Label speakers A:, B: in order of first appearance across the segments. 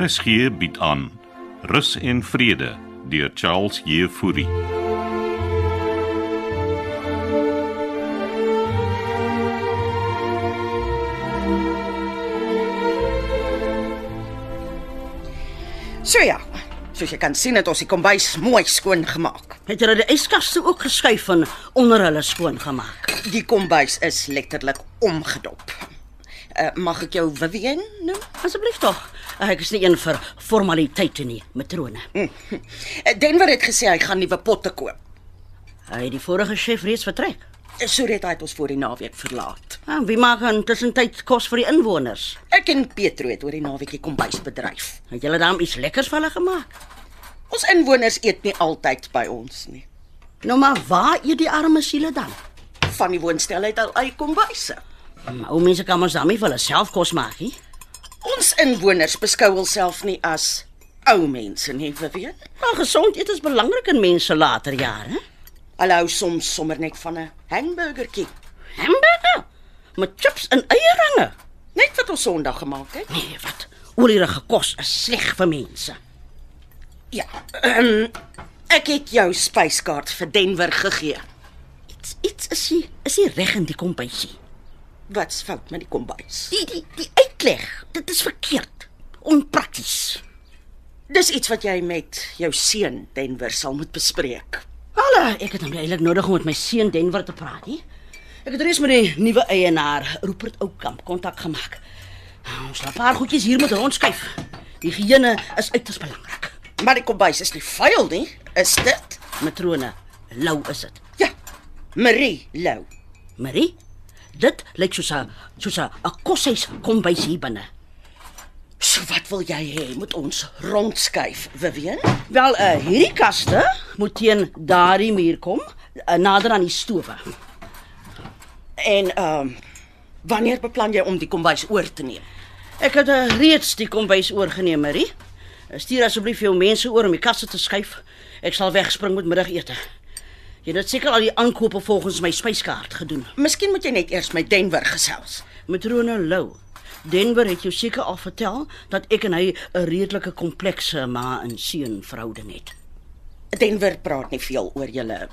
A: RSG bied aan Rus en Vrede deur Charles Jefouri.
B: So ja, soos jy kan sien het ons die kombuis mooi skoon gemaak.
C: Het hulle die yskaste ook geskuif en onder hulle skoon gemaak.
B: Die kombuis is letterlik omgedop. Uh, mag ek jou Vivian noem?
C: Asseblief tog. Eh, Ek is nie een vir formaliteite nie, matrone.
B: Uh, Denver het gesê hy gaan nuwe potte koop.
C: Hy het die vorige chef reeds vertrek.
B: Soretta het ons voor die naweek verlaat.
C: En wie maak intussen tyd kos vir die inwoners?
B: Ek en Petro het oor die naweek die kombuis bedryf.
C: Het julle daarom iets lekkers vir hulle gemaak?
B: Ons inwoners eet nie altyd by ons nie.
C: Nou maar waar eet die arme siele dan?
B: Van die woonstel het al eie kombuise.
C: Maar Hm, Ou mense kan mos dan nie vir hulle self kos maak nie.
B: Ons inwoners beskou onsself nie as ou mense nie, Vivian.
C: Maar gesond eet Ah, is belangrik in mense later jare.
B: Hulle hou soms sommer net van 'n hamburgertjie,
C: Hamburger met chips en eierringe.
B: net wat ons Sondag gemaak het.
C: Nee, wat? Olierige kos is sleg vir mense.
B: Ja. Ehm ek het jou spyskaart vir Denver gegee.
C: Iets iets is nie is nie reg in die kombuisie.
B: Wat's fout met die kombuis?
C: Die die die uitleg, dit is verkeerd. Onprakties.
B: Dis iets wat jy met jou seun Denver sal moet bespreek.
C: Hallo, eh, ek het hom eintlik nodig om met my seun Denver te praat, nie? Ek het reeds met die nuwe eienaar, Rupert Oukamp, kontak gemaak. Ons laat 'n paar goedjies hier moet rondskuif. Higiëne is uiters belangrik.
B: Maar die kombuis is nie vuil nie, is dit?
C: Matrone, lou is dit.
B: Ja. Marie Lou.
C: Marie, dit lyk soos 'n soos 'n 'n koshuis kombuis hier binne.
B: So wat wil jy hê moet ons rondskuif, Vivian?
C: Wel, uh, hierdie kaste moet teen daardie muur kom, uh, nader aan die stowe.
B: En ehm um, wanneer beplan jy om die kombuis oor te neem?
C: Ek het uh, reeds die kombuis oorgeneem, Marie. Uh, Stuur asseblief jou mense oor om die kaste te skuif. Ek sal wegspring met middagete. Jy het seker al die aankope volgens my spyskaart gedoen.
B: Miskien moet jy net eers met Denver gesels.
C: Matrone Lou, Denver het jou seker al vertel dat ek en hy 'n redelike komplekse ma en seun verhouding het.
B: Denver praat nie veel oor julle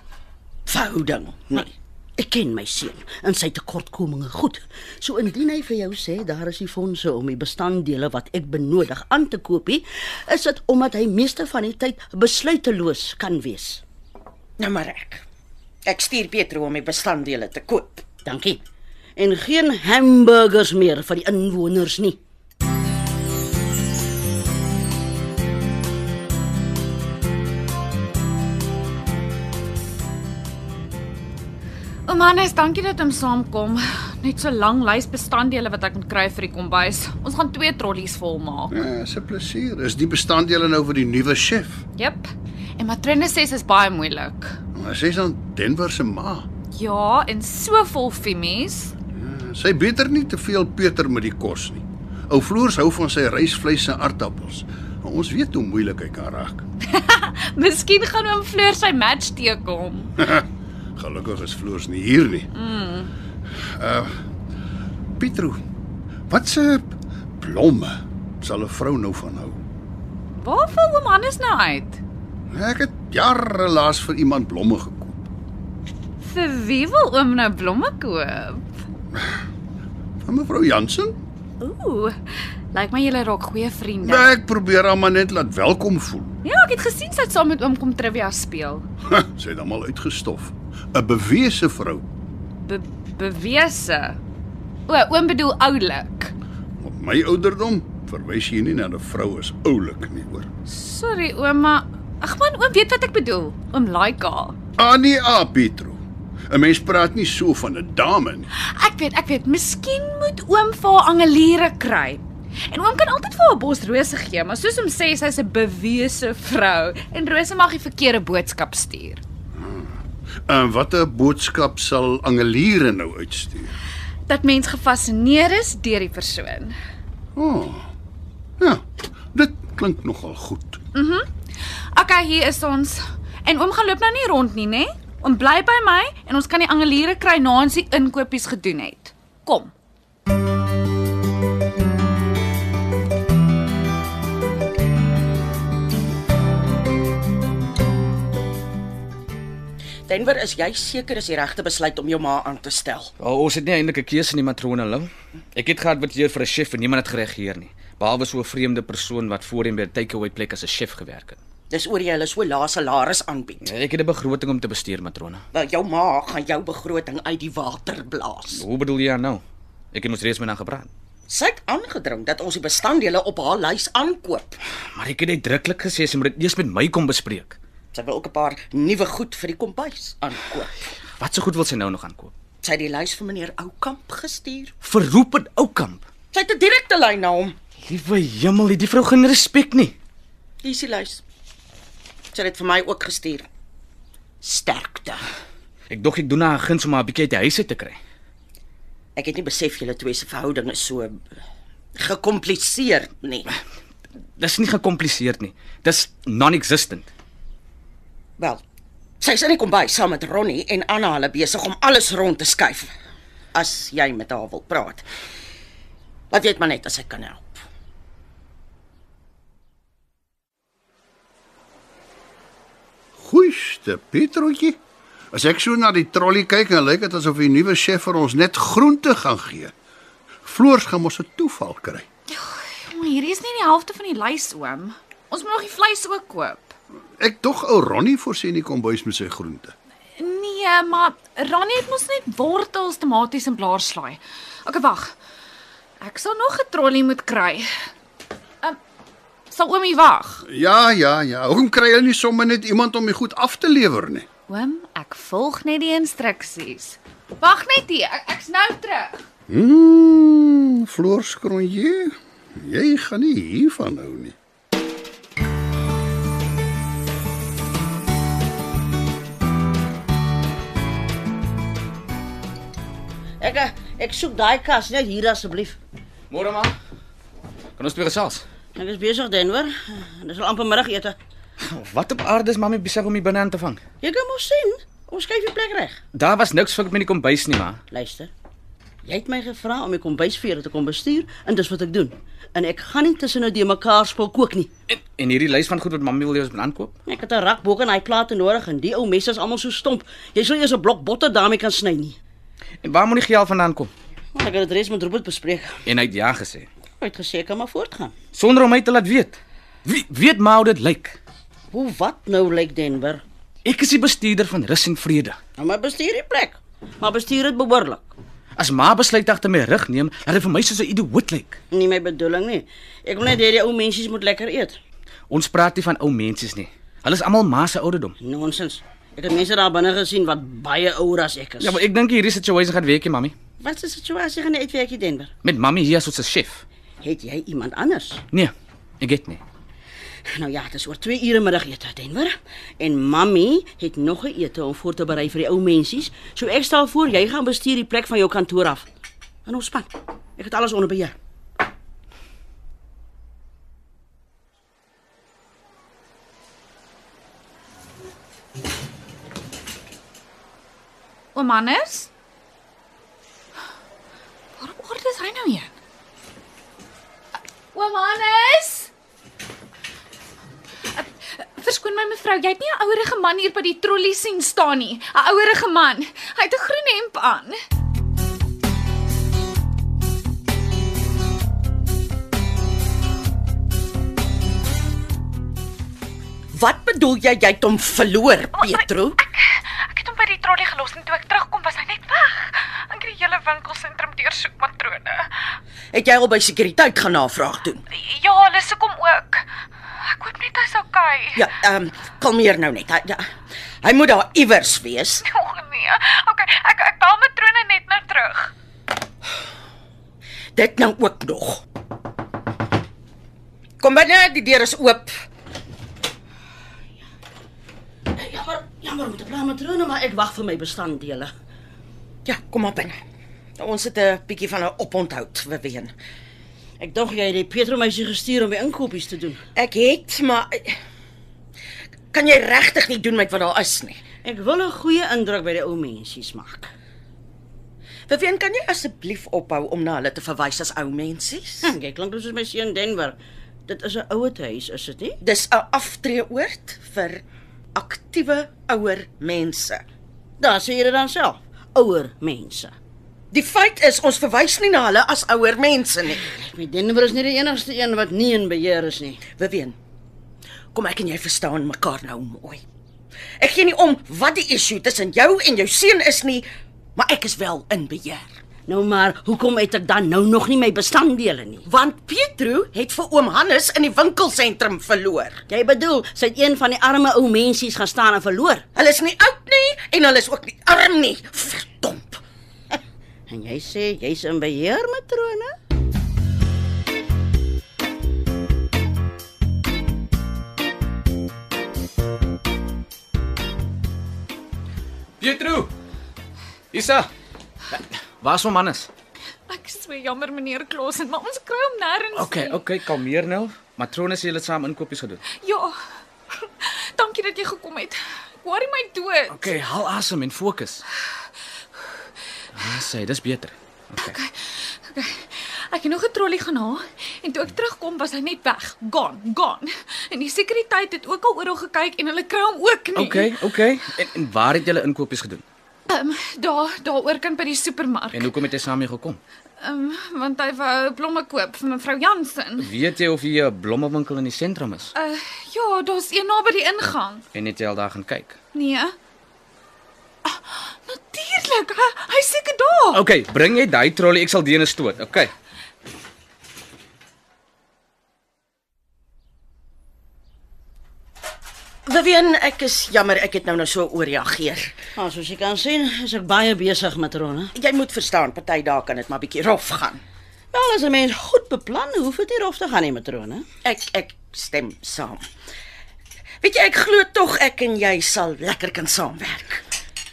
B: verhouding nie.
C: nee. Ek ken my seun en sy tekortkominge goed. So indien hy vir jou sê daar is die fondse om die bestanddele wat ek benodig aan te koop, nie, is dit omdat hy meeste van die tyd besluiteloos kan wees.
B: Nou maar ek. Ek stuur Petro om die bestanddele te koop.
C: Dankie. En geen hamburgers meer vir die inwoners nie.
D: Oom Hannes, dankie dat hom saamkom. Net so lank lys bestanddele wat ek moet kry vir die kombuis. Ons gaan twee trollies vol maak.
E: Ja, dis 'n plesier. Is die bestanddele nou vir die nuwe chef?
D: Jep. En matrone sê dit is baie moeilik.
E: Maar sy's dan Denver se ma.
D: Ja, en so vol vimmies.
E: Ja, Sy beter nie te veel Peter met die kos nie. Ou Floors hou van sy rysvleis en aardappels. Maar Ons weet hoe moeilik hy kan raak.
D: Miskien gaan oom Fleur sy match teekom.
E: Gelukkig is Floors nie hier nie. Mm. Uh Pietro, wat se blomme sal 'n vrou nou van hou?
D: Waar val oom Hannes nou uit?
E: Ek het jare laas vir iemand blomme gekoop.
D: Vir wie wil oom nou blomme koop?
E: Van mevrou Jansen?
D: Ooh. Lyk my julle raak goeie vriende.
E: Ja. Ek probeer haar maar net laat welkom voel.
D: Ja, ek het gesien sy het saam met oom kom trivia speel.
E: Sy het almal uitgestof. 'n Bewese vrou.
D: Be bewese. O, oom bedoel oulik.
E: Op my ouderdom verwys jy nie na 'n vrou as oulik nie, hoor.
D: Sorry ouma. Ag man, oom weet wat ek bedoel. Oom Laika.
E: Annie A Ah, nee, Pietro. 'n Mens praat nie so van 'n dame nie.
D: Ek weet, ek weet, miskien moet oom vir haar angeliere kry. En oom kan altyd vir haar 'n bos rose gee, maar soos hom sê, sy's 'n bewese vrou en rose mag die verkeerde boodskap stuur.
E: En watter boodskap sal Angeliere nou uitstuur?
D: Dat mens gefassineer is deur die persoon.
E: O. Oh, ja, dit klink nogal goed.
D: Okay, hier is ons. En oom gaan loop nou nie rond nie, né? Oom bly by my en ons kan die angeliere kry na ons die inkopies gedoen het. Kom.
B: Denver, is jy seker is die regte besluit om jou ma aan te stel?
F: Wel, ons het nie eintlik 'n keuse nie, matrone Lou. Ek het geadverteer vir 'n chef en niemand het gereageer nie, behalwe so 'n vreemde persoon wat voorheen by 'n takeaway plek as 'n chef gewerk het.
B: Dis oor jy hulle so lae salaris aanbied.
F: Ek het 'n begroting om te bestuur, matrone.
B: Wel, jou ma gaan jou begroting uit die water blaas.
F: Hoe bedoel jy nou? Ek het mos reeds met haar gepraat.
B: Sy het aangedring dat ons die bestanddele op haar lys aankoop.
F: Maar ek het uitdruklik gesê sy moet dit eers met my kom bespreek.
B: Sy wil ook 'n paar nuwe goed vir die kombuis aankoop.
F: Wat so goed wil sy nou nog aankoop?
B: Sy het die lys vir meneer Oukamp gestuur.
F: Verroep en oukamp.
B: Sy het 'n direkte lyn na hom.
F: Liewe hemel, hierdie vrou geen respek nie.
B: Hier is die lys. Sy het dit vir my ook gestuur. Sterkte.
F: Ek dog ek doen haar guns om haar 'n bietjie uit die huis uit te kry.
B: Ek het nie besef julle twee se verhouding is so gekompliseer nie.
F: Dis nie gekompliseerd nie. Dis non-existent.
B: Wel, sy's in die kombuis saam met Ronnie en Anna hulle besig om alles rond te skuif. As jy met haar wil praat. Laat weet maar net as ek kan help.
E: Goeieste Pietrootjie. As ek so na die trolly kyk, dan lyk dit asof die nuwe chef vir ons net groente gaan gee. Floors gaan mos 'n toeval kry.
D: Maar hierdie is nie die helfte van die lys oom. Ons moet nog die vleis ook koop.
E: Ek tog ou Ronnie voorsien die kombuis met sy groente.
D: Nee, maar Ronnie het mos net wortels, tomaties en blaarslaai. Okay, wag. Ek sal nog 'n trolly moet kry. Ehm um, sal oomie wag.
E: Ja, ja, ja. Hoekom kry hulle nie sommer net iemand om die goed af te lewer nie?
D: Oom, ek volg net die instruksies. Wag net hier, ek, ek's nou terug.
E: Mm, Floors Cronje, jy gaan nie hiervan hou nie.
C: Ek eh, ek soek daai kas net hier asseblief.
F: Môre maar. Kan ons weer gesels?
C: Ek is besig Denver. Dis al amper middagete.
F: Wat op aarde is mami besig om die binne aan te vang?
C: Jy kan mos sien, ons skuif die plek reg.
F: Daar was niks vir met die kombuis nie, maar
C: Luister. Jy het my gevra om die kombuis vir jou te kom bestuur en dis wat ek doen. En ek gaan nie tussen nou die mekaar speel kook nie.
F: en, en hierdie lys van goed wat mami wil hê ons moet aankoop.
C: Ek het 'n rak bo kan daai plate nodig en die ou messe is almal so stomp. Jy sal eers 'n blok botter daarmee kan sny nie.
F: En waar moet die geld vandaan kom?
C: Maar ek het dit reeds met Robert bespreek.
F: En hy het ja gesê,
C: Hy het gesê ek kan maar voortgaan.
F: sonder om my te laat weet. Wie weet maar hoe dit lyk.
C: Hoe wat nou lyk Denver?
F: Ek is die bestuurder van Rus en Vrede.
C: Nou maar bestuur die plek. Maar bestuur dit behoorlik.
F: As ma besluit agter my rug neem, laat dit vir my soos 'n idioot lyk.
C: Nie my bedoeling nie. Ek wil net hê die ou mensies moet lekker eet.
F: Ons praat nie van ou mensies nie. Hulle is almal ma se ouderdom.
C: Nonsens. Ek het mense daar binne gesien wat baie ouer as ek is.
F: Ja, maar ek dink hierdie situasie gaan weekie, mami.
C: wat is die situasie gaan uitwerk hier Denver?
F: Met mami hier as ons chef.
C: Het jy iemand anders?
F: Nee, ek weet nie.
C: Nou ja, dit is oor 2 ure middagete Denver en mammy het nog 'n ete om voor te berei vir die ou mensies. So ek stel voor jy gaan bestuur die plek van jou kantoor af. En ontspan. Ek het alles onder beheer.
D: Oom Hannes? Waar op aarde is hy nou heen? Oom Hannes? Verskoon my mevrou, jy het nie 'n ouerige man hier by die trollie sien staan nie. 'n Ouerige man. Hy het 'n groen hemp aan.
B: Wat bedoel jy jy het hom verloor, Petro?
G: Ek het hom by die trollie gelos en toe ek terugkom was hy net weg. Ek het die hele winkelsentrum deursoek matrone.
B: Het jy al by sekuriteit gaan navraag doen?
G: Ja, hulle soek hom ook. Ek hoop net hy's okay.
B: Ja, ehm um, kalmeer nou net. Hy, ja, hy moet daar iewers wees.
G: O nee. Okay, ek ek bel matrone net nou terug.
B: Dit nou ook nog. Kom binne, die deur is oop.
C: Jammer, jammer om te pla matrone, maar ek wag vir my bestanddele.
B: Ja, kom maar binne. Ons het 'n bietjie van 'n oponthoud beween.
C: Ek dink jy het die Pietro meisie gestuur om die inkopies te doen.
B: Ek het, maar kan jy regtig nie doen met wat daar is nie.
C: Ek wil 'n goeie indruk by die ou mensies maak.
B: Beween, kan jy asseblief ophou om na hulle te verwys as ou mensies?
C: Hm, jy klink soos my seun Denver. Dit is 'n ouer huis, is dit nie?
B: Dis 'n aftreeoord vir aktiewe ouer mense.
C: Daar sê jy dit dan self. Ouer mense.
B: Die feit is ons verwys nie na hulle as ouer mense nie.
C: Ek weet Denver is nie die enigste een wat nie in beheer is nie.
B: Beween. Kom ek en jy verstaan mekaar nou mooi. Ek gee nie om wat die issue tussen jou en jou seun is nie, maar ek is wel in beheer.
C: Nou maar, hoekom het ek dan nou nog nie my bestanddele nie?
B: Want Pietro het vir oom Hannes in die winkelsentrum verloor.
C: Jy bedoel, sy het een van die arme ou mensies gaan staan en verloor.
B: Hulle is nie oud nie en hulle is ook nie arm nie. Verdomp.
C: En jy sê jy's in beheer, matrone?
F: Pietro. Isa. Waar's hom anders?
G: Ek is so jammer meneer Klaasen, maar ons kry hom nêrens.
F: Okay, okay, kalmeer nou. Matrone sê julle het saam inkopies gedoen.
G: Ja. Dankie dat jy gekom het. Ek worry my dood.
F: Okay, haal asem en fokus. Ah, sê, dis beter. Okay.
G: Ek het nog 'n trollie gaan haal en toe ek terugkom was hy net weg. Gone, gone. En die sekuriteit het ook al oral gekyk en hulle kry hom ook nie.
F: Okay, okay. En, en waar het julle inkopies gedoen?
G: Ehm daar daaroor kan by die supermark.
F: En hoekom het jy saam hier gekom?
G: Ehm um, want hy wou blomme koop vir mevrou Jansen.
F: Weet jy of hier 'n blommewinkel in die sentrum is?
G: Uh ja, daar's een naby die ingang.
F: En het jy al daar gaan kyk?
G: Nee. Ah, Natuurlik. Hy, hy is seker daar.
F: Okay, bring jy daai trollie, ek sal die ene stoot. Okay.
B: Beween, ek is jammer ek het nou nou so ooreageer.
C: Nou, soos jy kan sien, is ek baie besig, matrone.
B: Jy moet verstaan, party dae kan dit maar bietjie rof gaan.
C: Wel, Ja, as 'n mens goed beplan, hoef dit nie rof te gaan nie, matrone.
B: Ek ek stem saam. Weet jy, ek glo tog ek en jy sal lekker kan saamwerk.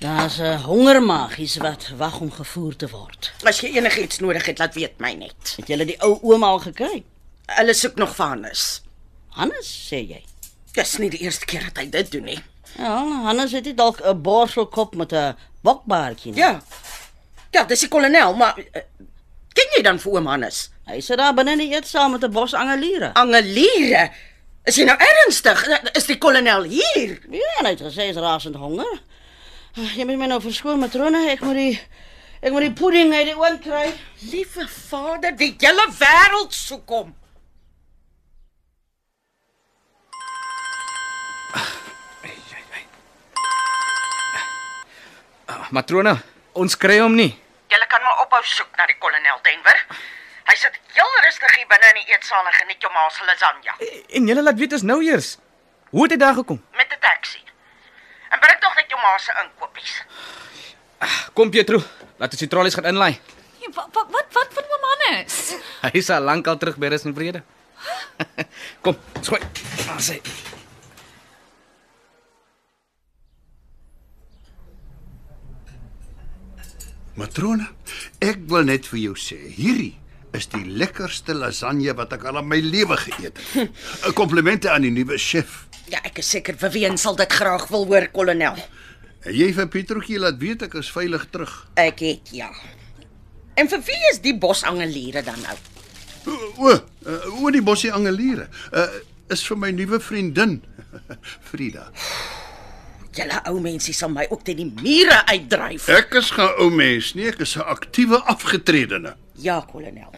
C: Daar's 'n hongermagies wat wag om gevoer te word.
B: As jy enigiets nodig het, laat weet my net.
C: Het jy die ou ouma al gekry?
B: Hulle soek nog vir Hannes.
C: Hannes sê jy.
B: Dis nie die eerste keer dat hy dit doen nie.
C: Ja, Hannes het nie dalk 'n borselkop met 'n bokbaartjie nie.
B: Ja. Ja, dis die kolonel, maar eh, ken jy dan vir oom Hannes?
C: Hy sit daar binne in die eetsaal met 'n bos angeliere.
B: Angeliere. Is jy nou ernstig? Is die kolonel hier?
C: Ja, en hy het gesê hy is rasend honger. Ag, Jy moet my nou verskoon matrone, ek moet die ek moet die pudding uit die oond kry.
B: Liewe Vader, die hele wêreld soek hom.
F: Ah, Matrone, ons kry hom nie.
B: Julle kan maar ophou soek na die kolonel Denver. Hy sit heel rustig hier binne in die eetsaal en geniet jou ma se lasagne
F: En julle laat weet is nou eers. Hoe het hy daar gekom?
B: met 'n taxi. En bring tog net jou ma se inkopies.
F: Kom Pietro, laat ons die trollies gaan inlaai.
G: Nee, Wat wat wat wat van oom Hannes?
F: Hy is al lank al terug by rus en vrede. Kom, skooi. Ah, sê.
E: Matrone, ek wil net vir jou sê, hierdie is die lekkerste lasagne wat ek al in my lewe geëet het. Eh, Komplimente aan die nuwe chef.
B: Ja, ek is seker Vivian sal dit graag wil hoor, kolonel.
E: En jy vir Pietroetjie laat weet ek is veilig terug.
B: Ek het ja. En vir wie is die bosangeliere dan nou?
E: O, o, eh, o die bosie angeliere. Uh, is vir my nuwe vriendin Frida.
B: Julle ou mense sal my ook teen die mure uitdryf.
E: Ek is geen ou mens nie, ek is 'n aktiewe afgetredene.
B: Ja, kolonel.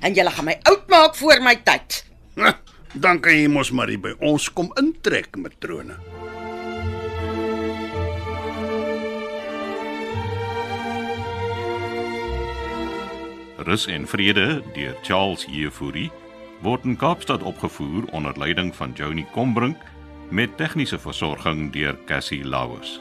B: En julle gaan my oud maak voor my tyd.
E: Huh, Dan kan jy mos maar hier by ons kom intrek, matrone.
A: Rus en Vrede deur Charles Jefouri word in Kaapstad opgevoer onder leiding van Johnny Combrink met tegniese versorging deur Cassie Lauers.